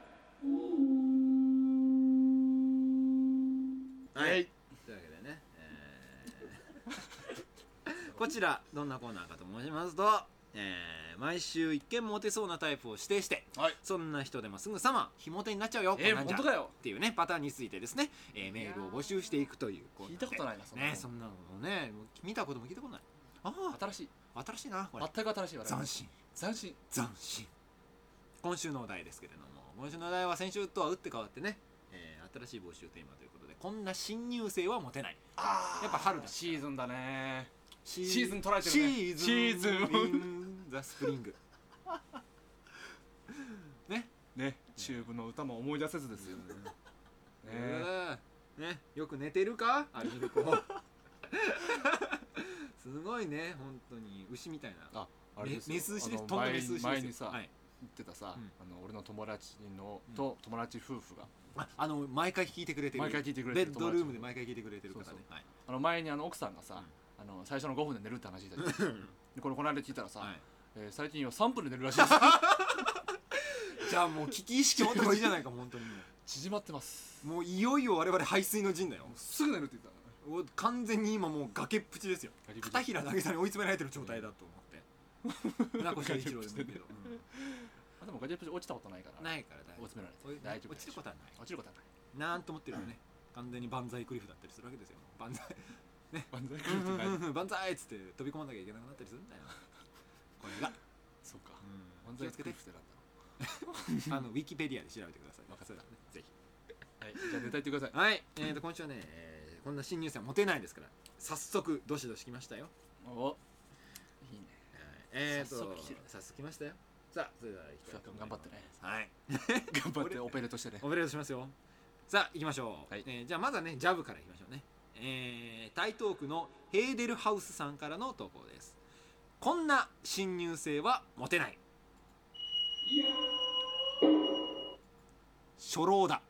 [SPEAKER 1] はい、というわけでね、え ーこちらどんなコーナーかと申しますと、えー毎週一見モテそうなタイプを指定して
[SPEAKER 2] はい
[SPEAKER 1] そんな人でもすぐさま非モテになっちゃうよ、こ
[SPEAKER 2] えー
[SPEAKER 1] んなんじ
[SPEAKER 2] 本
[SPEAKER 1] ゃ
[SPEAKER 2] 当かよ
[SPEAKER 1] っていうねパターンについてですね、えーメールを募集していくというコーナーで
[SPEAKER 2] 聞いたことないなそんなの
[SPEAKER 1] ねそんなのねもう見たことも聞いたことないあ
[SPEAKER 2] 新しい
[SPEAKER 1] あ新しいなこれ
[SPEAKER 2] 全く新しい話
[SPEAKER 1] 斬新
[SPEAKER 2] 斬新
[SPEAKER 1] 斬新今週のお題ですけれども今週のお題は先週とは打って変わってね、えー新しい募集テーマということでこんな新入生はモテない
[SPEAKER 2] あ
[SPEAKER 1] やっぱ春だ
[SPEAKER 2] シーズンだね
[SPEAKER 1] シ
[SPEAKER 2] シーズン捉えてるね
[SPEAKER 1] シーズン
[SPEAKER 2] シーズン
[SPEAKER 1] in the spring ね
[SPEAKER 2] ねチューブの歌も思い出せずですよねね
[SPEAKER 1] うんねよく寝てるかアルミルコ すごいね本当に牛みたいな
[SPEAKER 2] ああれ
[SPEAKER 1] め
[SPEAKER 2] ですよ
[SPEAKER 1] メス牛で
[SPEAKER 2] あ
[SPEAKER 1] す
[SPEAKER 2] の
[SPEAKER 1] 飛んだメス牛ですよ
[SPEAKER 2] 前にさ
[SPEAKER 1] はい、
[SPEAKER 2] 言ってたさ、
[SPEAKER 1] うん
[SPEAKER 2] あの俺の友達の、
[SPEAKER 1] うん
[SPEAKER 2] と友達夫婦が
[SPEAKER 1] ああの毎回聞いてくれてる
[SPEAKER 2] 毎回聞いてくれてる
[SPEAKER 1] ベッドルームで
[SPEAKER 2] 友
[SPEAKER 1] 毎回聞いてくれてる方ね
[SPEAKER 2] そう
[SPEAKER 1] はい
[SPEAKER 2] あの前にあの奥さんがさ、あの最初の5分で寝るって話したじゃんでこれこの間聞いたらさ、
[SPEAKER 1] はい
[SPEAKER 2] えー最 近は3分で寝るらしいで す
[SPEAKER 1] じゃあもう危機意識持った方がいいじゃないか本当にも
[SPEAKER 2] 縮まってます
[SPEAKER 1] うもういよいよ我々排水の陣だよ
[SPEAKER 2] すぐ寝るって言ってた
[SPEAKER 1] もう完全に今もう崖っぷちですよ
[SPEAKER 2] ガリ
[SPEAKER 1] 片平渚に追い詰められてる状態だと思 って船越英一郎でもいいけど、
[SPEAKER 2] あでもガリップ落ちたことないから
[SPEAKER 1] うんないから大
[SPEAKER 2] 追い
[SPEAKER 1] 丈
[SPEAKER 2] 詰め
[SPEAKER 1] 夫追い
[SPEAKER 2] られて大丈夫
[SPEAKER 1] 落ちることはな
[SPEAKER 2] 落ちることはない
[SPEAKER 1] いなんと思ってるよね完全に万歳クリフだったりするわけですよ万歳
[SPEAKER 2] 万歳
[SPEAKER 1] う
[SPEAKER 2] 来る
[SPEAKER 1] ん
[SPEAKER 2] とない
[SPEAKER 1] うんうん万歳っつって飛び込まなきゃいけなくなったりするんだよこれが、
[SPEAKER 2] そうか
[SPEAKER 1] うん、
[SPEAKER 2] 万
[SPEAKER 1] 気
[SPEAKER 2] 歳
[SPEAKER 1] をつけ
[SPEAKER 2] 来
[SPEAKER 1] て
[SPEAKER 2] るってなんだ
[SPEAKER 1] あのウィキペディアで調べてください
[SPEAKER 2] わかった
[SPEAKER 1] そうだねぜひ
[SPEAKER 2] ろうはいじゃあ寝たいってください
[SPEAKER 1] はい、えー、と今週はね、えーこんな新入生はモテないですから早速どしどし来ましたよ
[SPEAKER 2] おいいね
[SPEAKER 1] はいえー、と
[SPEAKER 2] 早速来てる
[SPEAKER 1] 早速来ましたよさあそれではいきたいと思い
[SPEAKER 2] 頑張
[SPEAKER 1] ま
[SPEAKER 2] っ
[SPEAKER 1] す
[SPEAKER 2] てね
[SPEAKER 1] はい
[SPEAKER 2] 頑張ってオペレートしてね
[SPEAKER 1] オペレートしますよさあ行きましょう、
[SPEAKER 2] はい
[SPEAKER 1] えーじゃあまずはねジャブからいきましょうねえー、台東区のヘーデルハウスさんからの投稿ですこんな新入生はモテない初老だ、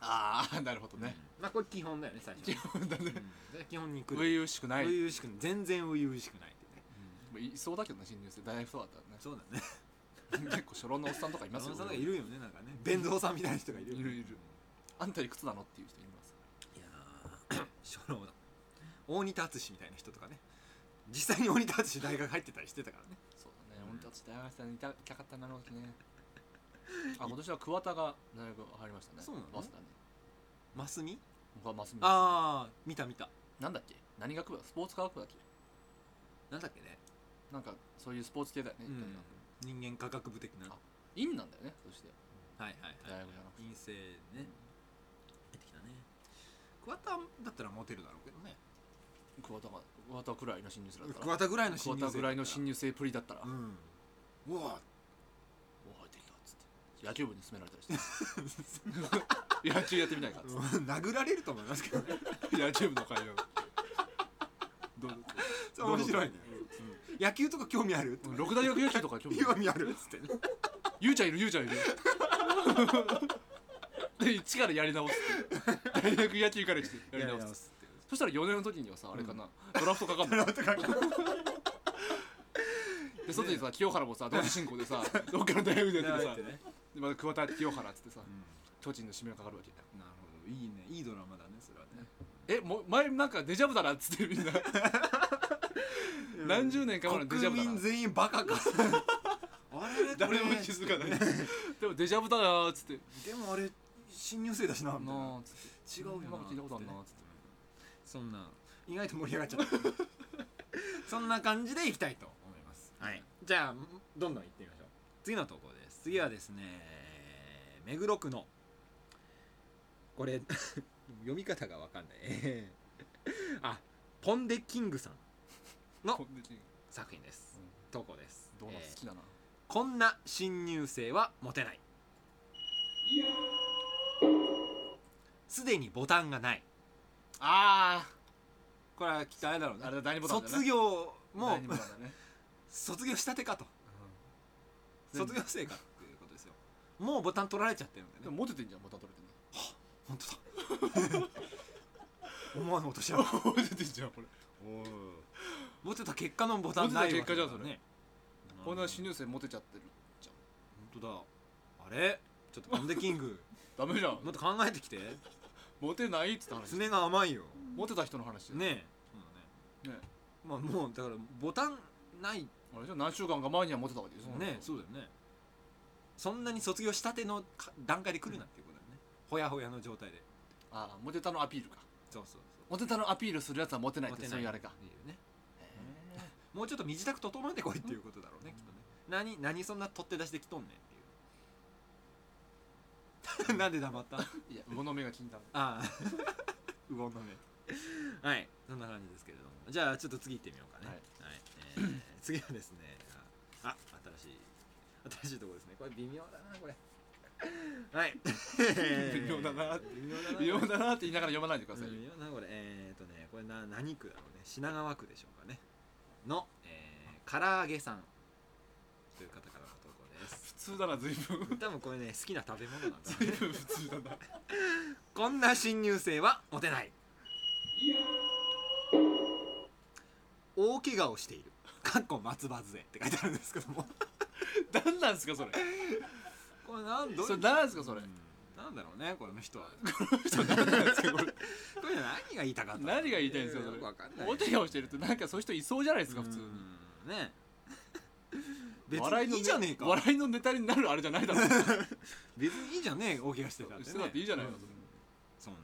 [SPEAKER 2] ああなるほどね
[SPEAKER 1] まあこれ基本だよね最 初
[SPEAKER 2] 基本だね
[SPEAKER 1] うん基本に来
[SPEAKER 2] 初
[SPEAKER 1] る
[SPEAKER 2] 々しくない
[SPEAKER 1] 初々しくない全然初々しくないってね、
[SPEAKER 2] まあいそうだけどね新入生大学そうだっ
[SPEAKER 1] そうだね
[SPEAKER 2] たらね 結構初老のおっさんとかいます
[SPEAKER 1] 山本
[SPEAKER 2] よ
[SPEAKER 1] さんがいるよねなんかね弁蔵さんみたいな人がいるよね
[SPEAKER 2] いるいるあんたいくつなのっていう人います
[SPEAKER 1] いやー 初老だ大仁田淳みたいな人とかね実際に大仁田淳大学入ってたりしてたからね
[SPEAKER 2] そうだね俺たち大学生にいたきゃかったなるほどねあ今年は桑田が大学入りましたね
[SPEAKER 1] そうなの
[SPEAKER 2] 早稲田に
[SPEAKER 1] マスミ
[SPEAKER 2] 僕はマスミあ
[SPEAKER 1] ああ見た見た
[SPEAKER 2] なんだっけ何学部だスポーツ科学部だっけ
[SPEAKER 1] なんだっけね、
[SPEAKER 2] なんかそういうスポーツ系だよね、
[SPEAKER 1] うん、人間科学部的な
[SPEAKER 2] あ院なんだよねそして
[SPEAKER 1] はいはい
[SPEAKER 2] 大
[SPEAKER 1] はい
[SPEAKER 2] 学じゃなくて
[SPEAKER 1] 陰性ね入ってきたね桑田だったらモテるだろうけどね
[SPEAKER 2] 桑田が桑田くらいの新入生だったら
[SPEAKER 1] 桑田ぐらいの新
[SPEAKER 2] 桑
[SPEAKER 1] 入生
[SPEAKER 2] 田ぐらいの
[SPEAKER 1] 新
[SPEAKER 2] 新入生プリだったら、
[SPEAKER 1] う
[SPEAKER 2] お
[SPEAKER 1] んうわ
[SPEAKER 2] お入ってきたっつって野球部に勧められた りして野球やってみないかっつっ
[SPEAKER 1] 殴られると思いますけどね
[SPEAKER 2] て野球部の会話 どうぞ
[SPEAKER 1] それ面白いね、うん野球とか興味あるとか
[SPEAKER 2] 六大学野球とか興味あ
[SPEAKER 1] 興
[SPEAKER 2] る
[SPEAKER 1] 味あるっつってね
[SPEAKER 2] ゆうちゃんいるゆう ちゃんいるで一からやり直すって大学野球からしてやり直すって
[SPEAKER 1] すって
[SPEAKER 2] そしたら4年の時にはさあれかな、ドラフトかかんので外にさ清原もさ同時進行でさどっかの大学でやっててさ
[SPEAKER 1] ってね
[SPEAKER 2] でまた桑田清原っつってさ
[SPEAKER 1] うん
[SPEAKER 2] 巨人の締めがかかるわけ
[SPEAKER 1] なるほどいいねいいドラマだねそれはね
[SPEAKER 2] えもう前なんかデジャブだなっつってみんな何十年か前のデジャブ
[SPEAKER 1] 国
[SPEAKER 2] だな
[SPEAKER 1] 民全員バカか あれこれ
[SPEAKER 2] 誰も気づかない でもデジャブだなっつってな
[SPEAKER 1] でもあれ新入生だしなみたいな
[SPEAKER 2] あっつって
[SPEAKER 1] 違うよな
[SPEAKER 2] なんか聞いたことあるなっつって
[SPEAKER 1] そんな意外と盛り上がっちゃった そんな感じでいきたいと思いますはいじゃあどんどんいってみましょう次の投稿です次はですね目黒区のこれ 読み方がわかんない えーあポンデキングさん
[SPEAKER 2] こんな人
[SPEAKER 1] 作品です、
[SPEAKER 2] うん
[SPEAKER 1] 投稿です
[SPEAKER 2] ドーナ
[SPEAKER 1] え
[SPEAKER 2] ツ
[SPEAKER 1] ー
[SPEAKER 2] 好きだな、
[SPEAKER 1] こんな新入生はモテないすでにボタンがない
[SPEAKER 2] あ
[SPEAKER 1] これはきっとあれだろう
[SPEAKER 2] ー
[SPEAKER 1] ね
[SPEAKER 2] あれだ第二ボタンだね
[SPEAKER 1] 卒業
[SPEAKER 2] 第
[SPEAKER 1] も
[SPEAKER 2] 二ボタンだ ね
[SPEAKER 1] 卒業したてかと
[SPEAKER 2] うん
[SPEAKER 1] 卒業生かっていうことですよもうボタン取られちゃってるん
[SPEAKER 2] で
[SPEAKER 1] だ
[SPEAKER 2] も
[SPEAKER 1] ね
[SPEAKER 2] モテてんじゃんボタン取れてんの
[SPEAKER 1] 本当だ 思わぬ落とし穴
[SPEAKER 2] モテてんじゃんこれ
[SPEAKER 1] モテた結果のボタンないわけだ
[SPEAKER 2] モテた結果じゃんそれ
[SPEAKER 1] ね
[SPEAKER 2] こんな新入生モテちゃってるじゃん
[SPEAKER 1] 本当だあれちょっとポンデキン グ
[SPEAKER 2] ダメじゃん
[SPEAKER 1] もっと考えてきて
[SPEAKER 2] モテないっつって話
[SPEAKER 1] 爪が甘いよ
[SPEAKER 2] モテた人の話
[SPEAKER 1] ねえ
[SPEAKER 2] ね
[SPEAKER 1] まあもうだからボタンない
[SPEAKER 2] あれじゃん何週間か前にはモテたわけでしょ
[SPEAKER 1] ねそうだよねそんなに卒業したてのか段階で来るなっていうことだよねほやほやの状態で
[SPEAKER 2] ああモテたのアピールか
[SPEAKER 1] そうそう
[SPEAKER 2] モテたのアピールするやつはモテ
[SPEAKER 1] そ
[SPEAKER 2] な
[SPEAKER 1] う
[SPEAKER 2] いっ
[SPEAKER 1] モ
[SPEAKER 2] て
[SPEAKER 1] テ
[SPEAKER 2] そういうあれか
[SPEAKER 1] っていうねもうちょっと身支度整えてこいっていうことだろうねきっとね何何そんな取って出してきとんねんっていう なんで黙ったあ
[SPEAKER 2] いや魚の目が気になる
[SPEAKER 1] あ魚の 目はいそんな感じですけれどもじゃあちょっと次行ってみようかね
[SPEAKER 2] はい
[SPEAKER 1] はいえー次はですねああ新しい新しいとこですねこれ微妙だなこれはい
[SPEAKER 2] 微妙だな
[SPEAKER 1] 微妙だな
[SPEAKER 2] 微妙だなって言いながら読まないでくださいよ
[SPEAKER 1] うんよなこれえっ、ー、とねこれな何区だろうね品川区でしょうかねの、えー、唐揚げさんという方からの投稿です
[SPEAKER 2] 普通だな随分
[SPEAKER 1] 多分これね好きな食べ物なんだろう
[SPEAKER 2] 随
[SPEAKER 1] ね
[SPEAKER 2] 分普通だな
[SPEAKER 1] こんな新入生はモテない大怪我をしているかっこ松葉杖って書いてあるんですけども
[SPEAKER 2] 何なんすかそれ
[SPEAKER 1] これなんどういう
[SPEAKER 2] それ何ですかそれ
[SPEAKER 1] うんなんだろうねこの人は
[SPEAKER 2] 何なんすかこ
[SPEAKER 1] こ
[SPEAKER 2] れ
[SPEAKER 1] れ何が言いたかったの
[SPEAKER 2] 何が言いたいんですか
[SPEAKER 1] よ
[SPEAKER 2] それ
[SPEAKER 1] くわかんない
[SPEAKER 2] モテ顔してるってなんかそういう人いそうじゃないですか普通に
[SPEAKER 1] うんね別
[SPEAKER 2] 笑い
[SPEAKER 1] に
[SPEAKER 2] の
[SPEAKER 1] いいじゃねえか
[SPEAKER 2] 笑いのネタになるあれじゃない だろう
[SPEAKER 1] 別にいいじゃねえ大怪我してたって、ね、
[SPEAKER 2] してたっていいじゃないの
[SPEAKER 1] うんそんな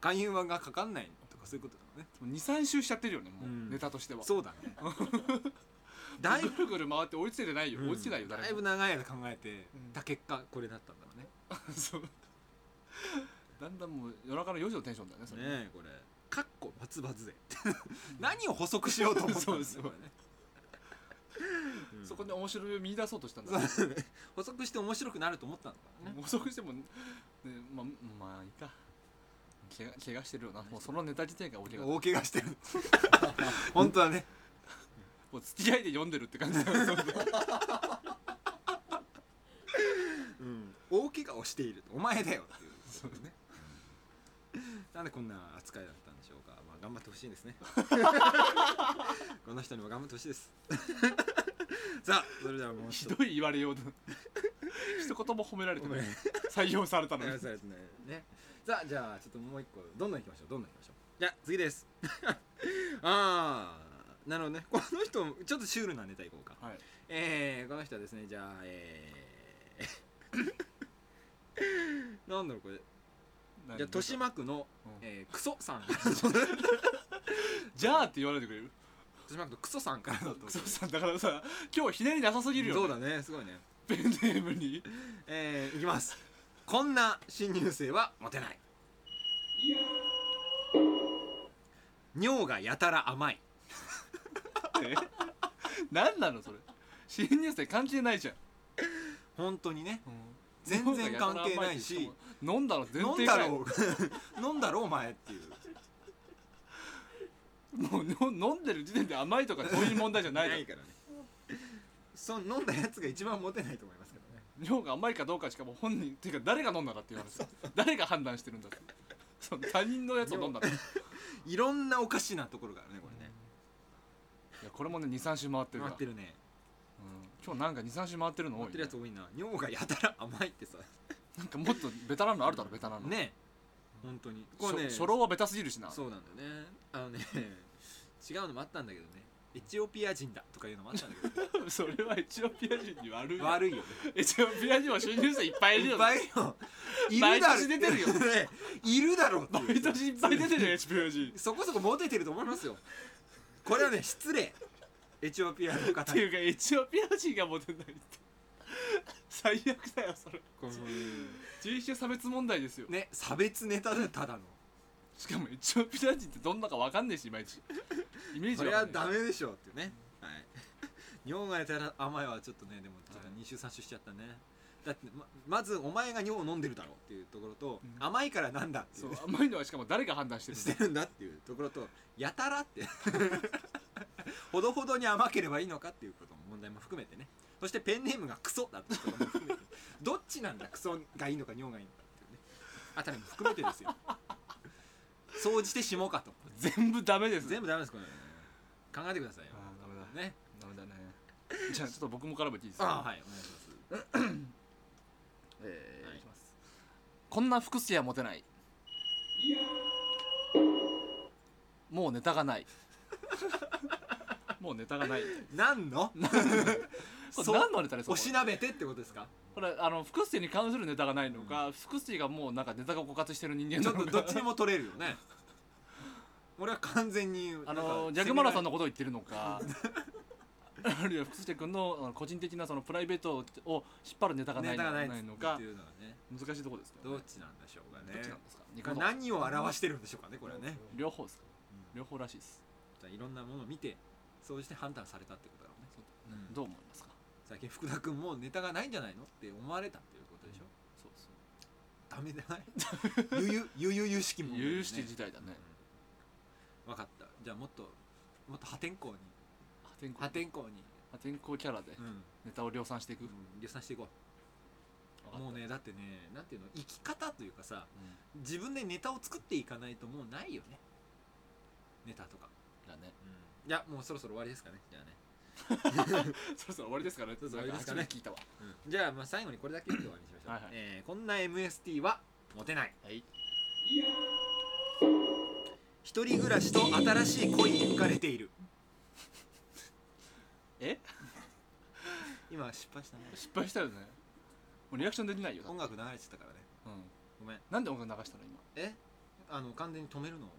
[SPEAKER 1] 勧誘はがかかんないとかそういうことだね
[SPEAKER 2] 23周しちゃってるよねも
[SPEAKER 1] う
[SPEAKER 2] う
[SPEAKER 1] ん
[SPEAKER 2] ネタとしては
[SPEAKER 1] そうだ ねだい
[SPEAKER 2] ぐ
[SPEAKER 1] ぶ
[SPEAKER 2] るぐる回って追いついてないよ、追いついてないよ
[SPEAKER 1] だい
[SPEAKER 2] 誰
[SPEAKER 1] ぶ
[SPEAKER 2] も
[SPEAKER 1] 長い間考えて
[SPEAKER 2] うん
[SPEAKER 1] た結果これだったんだろうね
[SPEAKER 2] そうだんだんもう夜中の4時のテンションだよねそれ
[SPEAKER 1] ねえこれ「かっこ松葉杖」何を補足しようと思ったんだ
[SPEAKER 2] そう
[SPEAKER 1] ね
[SPEAKER 2] そう
[SPEAKER 1] これねうん
[SPEAKER 2] そこで面白みを見出そうとしたんだ
[SPEAKER 1] 補足して面白くなると思ったんだからね
[SPEAKER 2] もう遅くしても、ね、まあまあいいか怪我怪我してるよなもうそのネタ自体が大怪我も
[SPEAKER 1] 大怪我して る本当はね
[SPEAKER 2] う付き合いで読んでるって感じだよ
[SPEAKER 1] うん、大怪我をしているお前だよっていうことねなんでこんな扱いだったんでしょうか、まあ、頑張ってほしい ですねこの人にも頑張ってほしいです さあそれではもう
[SPEAKER 2] ひ
[SPEAKER 1] 一度
[SPEAKER 2] どい言わ れようだ一言も褒められてない採用されたのに
[SPEAKER 1] やらされてないねさあじゃあちょっともう一個どんどんいきましょうどんどんいきましょうじゃあ次です ああなるほどねこの人ちょっとシュールなネタいこうか
[SPEAKER 2] はい
[SPEAKER 1] えー、この人はですねじゃあえー なんだろうこれじゃあ豊島区の、
[SPEAKER 2] うん
[SPEAKER 1] えークソさん 豊
[SPEAKER 2] じゃあって言わないでくれる
[SPEAKER 1] 島区のクソさんからだと
[SPEAKER 2] クソさんだからさ今日ひねりなさすぎるよ、ね、
[SPEAKER 1] そうだねすごいね
[SPEAKER 2] ペンネームに
[SPEAKER 1] えー、いきますこんな新入生はモテない尿がやたら甘い
[SPEAKER 2] え何なのそれ新入生関係ないじゃん、
[SPEAKER 1] 本当にね全然関係ないし
[SPEAKER 2] 飲んだの前
[SPEAKER 1] 飲ん
[SPEAKER 2] 提
[SPEAKER 1] だ
[SPEAKER 2] か
[SPEAKER 1] ろ
[SPEAKER 2] よ
[SPEAKER 1] う飲んだろうお前っていう
[SPEAKER 2] もうの飲んでる時点で甘いとかそういう問題じゃないだろ
[SPEAKER 1] からねそ飲んだやつが一番モテないと思いますけどね
[SPEAKER 2] 量が甘いかどうかしかもう本人っていうか誰が飲んだかっていう話誰が判断してる んだってその他人のやつを飲んだってい
[SPEAKER 1] いろんなおかしなところがあるねこれね
[SPEAKER 2] やこれもね23週回ってるか
[SPEAKER 1] 回
[SPEAKER 2] ら
[SPEAKER 1] ってるね
[SPEAKER 2] うん、今日なんか23週回ってるの多い
[SPEAKER 1] 回
[SPEAKER 2] ね、
[SPEAKER 1] ってるやつ多いな尿がやたら甘いってさ
[SPEAKER 2] なんかもっとベタなのあるだろベタなの
[SPEAKER 1] ね本当に
[SPEAKER 2] しょ
[SPEAKER 1] これね
[SPEAKER 2] 初老はベタすぎるしな
[SPEAKER 1] そうなんだよねあのね 違うのもあったんだけどねエチオピア人だとかいうのもあったんだけど、
[SPEAKER 2] それはエチオピア人に悪い よ
[SPEAKER 1] 悪いよ
[SPEAKER 2] エチオピア人は新入生いっぱいいる
[SPEAKER 1] い
[SPEAKER 2] よ
[SPEAKER 1] っぱいよいるだろ
[SPEAKER 2] 毎年出てるよ
[SPEAKER 1] ねいるだろっていう
[SPEAKER 2] 毎年いっぱい出てるよエチオピア人
[SPEAKER 1] そこそこモテてると思いますよこれはね失礼エチオピアの
[SPEAKER 2] っ
[SPEAKER 1] 方
[SPEAKER 2] て
[SPEAKER 1] に
[SPEAKER 2] いうかエチオピア人がモテないって 最悪だよそれ
[SPEAKER 1] この
[SPEAKER 2] 人種差別問題ですよ
[SPEAKER 1] ね差別ネタだよただの
[SPEAKER 2] しかもエチオピア人ってどんなかわかんないしいまいちイメー
[SPEAKER 1] そ
[SPEAKER 2] ジ
[SPEAKER 1] れは
[SPEAKER 2] わかんない
[SPEAKER 1] ダメでしょうっていうねはい尿がやたら甘いはちょっとねでもちょっと2週3週しちゃったねだってままずお前が尿を飲んでるだろうっていうところと、
[SPEAKER 2] うん
[SPEAKER 1] 甘いからなんだっていうね
[SPEAKER 2] そう甘いのはしかも誰が判断してる
[SPEAKER 1] し
[SPEAKER 2] ん
[SPEAKER 1] て
[SPEAKER 2] だ
[SPEAKER 1] るんだっていうところとやたらって ほどほどに甘ければいいのかっていうことも問題も含めてねそしてペンネームがクソだってことも含めてどっちなんだクソがいいのか尿がいいのかっていうねあたりも含めてですよ総じてしもうかと
[SPEAKER 2] 全部ダメです
[SPEAKER 1] 全部ダメですこれ考えてくださいよ
[SPEAKER 2] あーダメだ
[SPEAKER 1] ね
[SPEAKER 2] ダメだねじゃあちょっと僕も絡めていいですか
[SPEAKER 1] あーはいお願いします
[SPEAKER 2] えー
[SPEAKER 1] はい
[SPEAKER 2] いきますこんな服すやモテないもうネタがないもうネタがない
[SPEAKER 1] 何の
[SPEAKER 2] これ
[SPEAKER 1] そう
[SPEAKER 2] 何のネタですか
[SPEAKER 1] おしなべてってことですか
[SPEAKER 2] これあの福助に関するネタがないのか、福助がもうなんかネタが枯渇してる人間
[SPEAKER 1] ちょ
[SPEAKER 2] な
[SPEAKER 1] っと
[SPEAKER 2] のか
[SPEAKER 1] どっちにも取れるよね俺は完全に
[SPEAKER 2] あのジャグマラさんのことを言ってるのかあるいは福助君のあの個人的なそのプライベートを引っ張るネタがな
[SPEAKER 1] ネ
[SPEAKER 2] いの
[SPEAKER 1] タ
[SPEAKER 2] か
[SPEAKER 1] がない
[SPEAKER 2] ないの
[SPEAKER 1] っ
[SPEAKER 2] か
[SPEAKER 1] ていうのはね
[SPEAKER 2] 難しいところですけど,、
[SPEAKER 1] どっちなんでしょうか
[SPEAKER 2] どっち
[SPEAKER 1] ね
[SPEAKER 2] なんですか
[SPEAKER 1] これ何を表してるんでしょうかねこれはね
[SPEAKER 2] 両方ですか、
[SPEAKER 1] うん
[SPEAKER 2] 両方らしいです、
[SPEAKER 1] じゃあいろんなものを見てそうして判断されたってことだろうね
[SPEAKER 2] どう思いますか
[SPEAKER 1] 最近福田君もネタがないんじゃないのって思われたっていうことでしょ
[SPEAKER 2] そうそう
[SPEAKER 1] ダメじゃない ゆゆゆゆゆしきもんだよね
[SPEAKER 2] 有識自体だね
[SPEAKER 1] うんわかったじゃあもっともっと破天荒に
[SPEAKER 2] 破天荒
[SPEAKER 1] 破天荒に
[SPEAKER 2] 破天荒キャラで
[SPEAKER 1] うん
[SPEAKER 2] ネタを量産していく、
[SPEAKER 1] 予算していこうもうねだってねなんていうの生き方というかさ
[SPEAKER 2] う
[SPEAKER 1] 自分でネタを作っていかないともうないよねネタとか
[SPEAKER 2] んだね
[SPEAKER 1] いやもうそろそろ終わりですかねじゃあね
[SPEAKER 2] そろそろ終わりですかね
[SPEAKER 1] そろそろ終わりですかね
[SPEAKER 2] なん初めて聞いたわ
[SPEAKER 1] じゃあまあ最後にこれだけで終わりにしましょう
[SPEAKER 2] はいはい
[SPEAKER 1] えーこんな MST はモテない
[SPEAKER 2] はい
[SPEAKER 1] 一人暮らしと新しい恋に浮かれている
[SPEAKER 2] え
[SPEAKER 1] 今失敗したね
[SPEAKER 2] 失敗したよねもうリアクションできないよ、
[SPEAKER 1] 音楽流れてたからね
[SPEAKER 2] うん、
[SPEAKER 1] ごめん
[SPEAKER 2] なんで音楽流したの今
[SPEAKER 1] えあの完全に止めるのを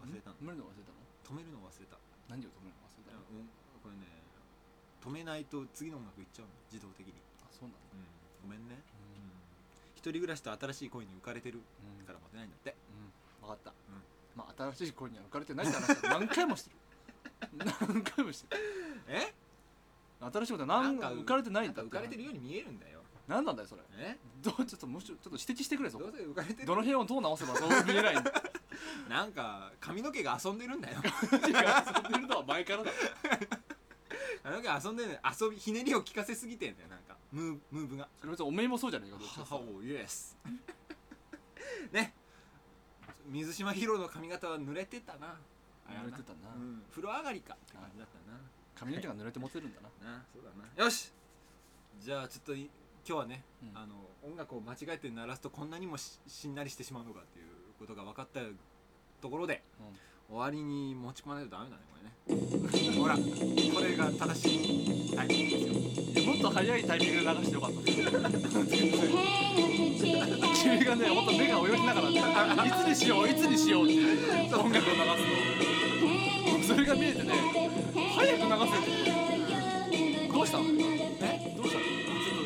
[SPEAKER 1] 忘れたの
[SPEAKER 2] 止めるの忘れたの
[SPEAKER 1] 止めるのを忘れた
[SPEAKER 2] 何を止めるの忘れたの
[SPEAKER 1] うんこれね止めないと次の音楽いっちゃうの自動的に、
[SPEAKER 2] あそうなんだ
[SPEAKER 1] ごめんね、う
[SPEAKER 2] う
[SPEAKER 1] ん一人暮らしと新しい恋に浮かれてる
[SPEAKER 2] ん
[SPEAKER 1] からモテないんだって
[SPEAKER 2] うん分かった、まあ新しい恋には浮かれてないって話は何回もしてる何回もしてる
[SPEAKER 1] え
[SPEAKER 2] 新しいことはなん
[SPEAKER 1] なんか
[SPEAKER 2] 浮かれてない
[SPEAKER 1] なんん
[SPEAKER 2] だ
[SPEAKER 1] か浮か
[SPEAKER 2] って
[SPEAKER 1] れてるように見えるんだよ
[SPEAKER 2] 何なんだよそれ
[SPEAKER 1] え
[SPEAKER 2] どうちょっとむしろちょっと指摘してくれそ
[SPEAKER 1] ど
[SPEAKER 2] こ
[SPEAKER 1] うせ浮かれてる
[SPEAKER 2] どの辺をどう直せばそう見えないんだ
[SPEAKER 1] なんか髪の毛が遊んでるんだよ
[SPEAKER 2] っていうか遊んでるのは前からだ
[SPEAKER 1] 髪の毛遊んでるんだよ遊びひねりを効かせすぎてんだよなんかムームーブが
[SPEAKER 2] それ別におめえもそうじゃねえかどっちかって
[SPEAKER 1] 母をイエスね水島ヒロの髪型は濡れてたなあ
[SPEAKER 2] 言
[SPEAKER 1] は
[SPEAKER 2] われてたな
[SPEAKER 1] うん、風呂上がりかって感じだったな
[SPEAKER 2] 髪の毛が濡れてモテるんだな
[SPEAKER 1] なそうだなよしじゃあちょっとい今日はね、
[SPEAKER 2] うん
[SPEAKER 1] あの音楽を間違えて鳴らすとこんなにもししんなりしてしまうのかっていうことが分かったところで、終わりに持ち込まないとダメだねこれね ほらこれが正しいタイミングですよ
[SPEAKER 2] いやもっと早いタイミングで流してよかった君がね、もっと目が泳ぎながら、いつにしよう、いつにしようって音楽を流すの。それが見えてね、早く流せる。どうしたのえどうしたの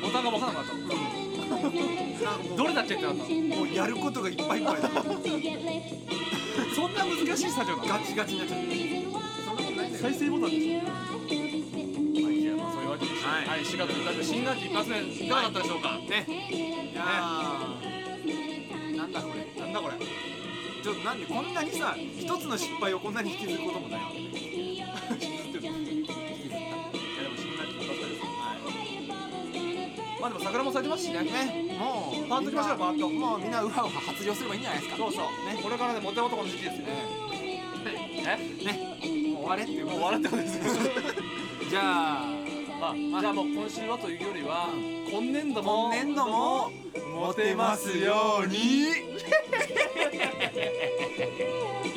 [SPEAKER 2] ボタンが分からなかったの。どれだっけってなったの。
[SPEAKER 1] もうやることがいっぱいいっぱいだ
[SPEAKER 2] そんな難しいスタジオなの
[SPEAKER 1] ガチガチになっちゃってそんなことないんだよ
[SPEAKER 2] 再生ボタンでしょ。はい、いやまあそういうわけでして、
[SPEAKER 1] はい
[SPEAKER 2] はい、4月1日、新学期一発目、いかがだったでしょうか。
[SPEAKER 1] ねいやーなんだこれ
[SPEAKER 2] なんだこれ。
[SPEAKER 1] ちょっとなんでこんなにさ一つの失敗をこんなに引きずることもないわけね
[SPEAKER 2] いやでも新学期一発目です。まあでも桜も咲いてますしね。
[SPEAKER 1] ねもう
[SPEAKER 2] パートきましょうパート
[SPEAKER 1] もうみんなウハウハ発情すればいいんじゃないですか
[SPEAKER 2] そうそう。ね、これからね、モテ男の時期ですよね。え
[SPEAKER 1] もう終われっていう
[SPEAKER 2] もう終わらってことですよ
[SPEAKER 1] じゃあ
[SPEAKER 2] あ、じゃあもう今週はというよりは今年度も
[SPEAKER 1] 今年度もモテますように
[SPEAKER 3] 「oh, oh,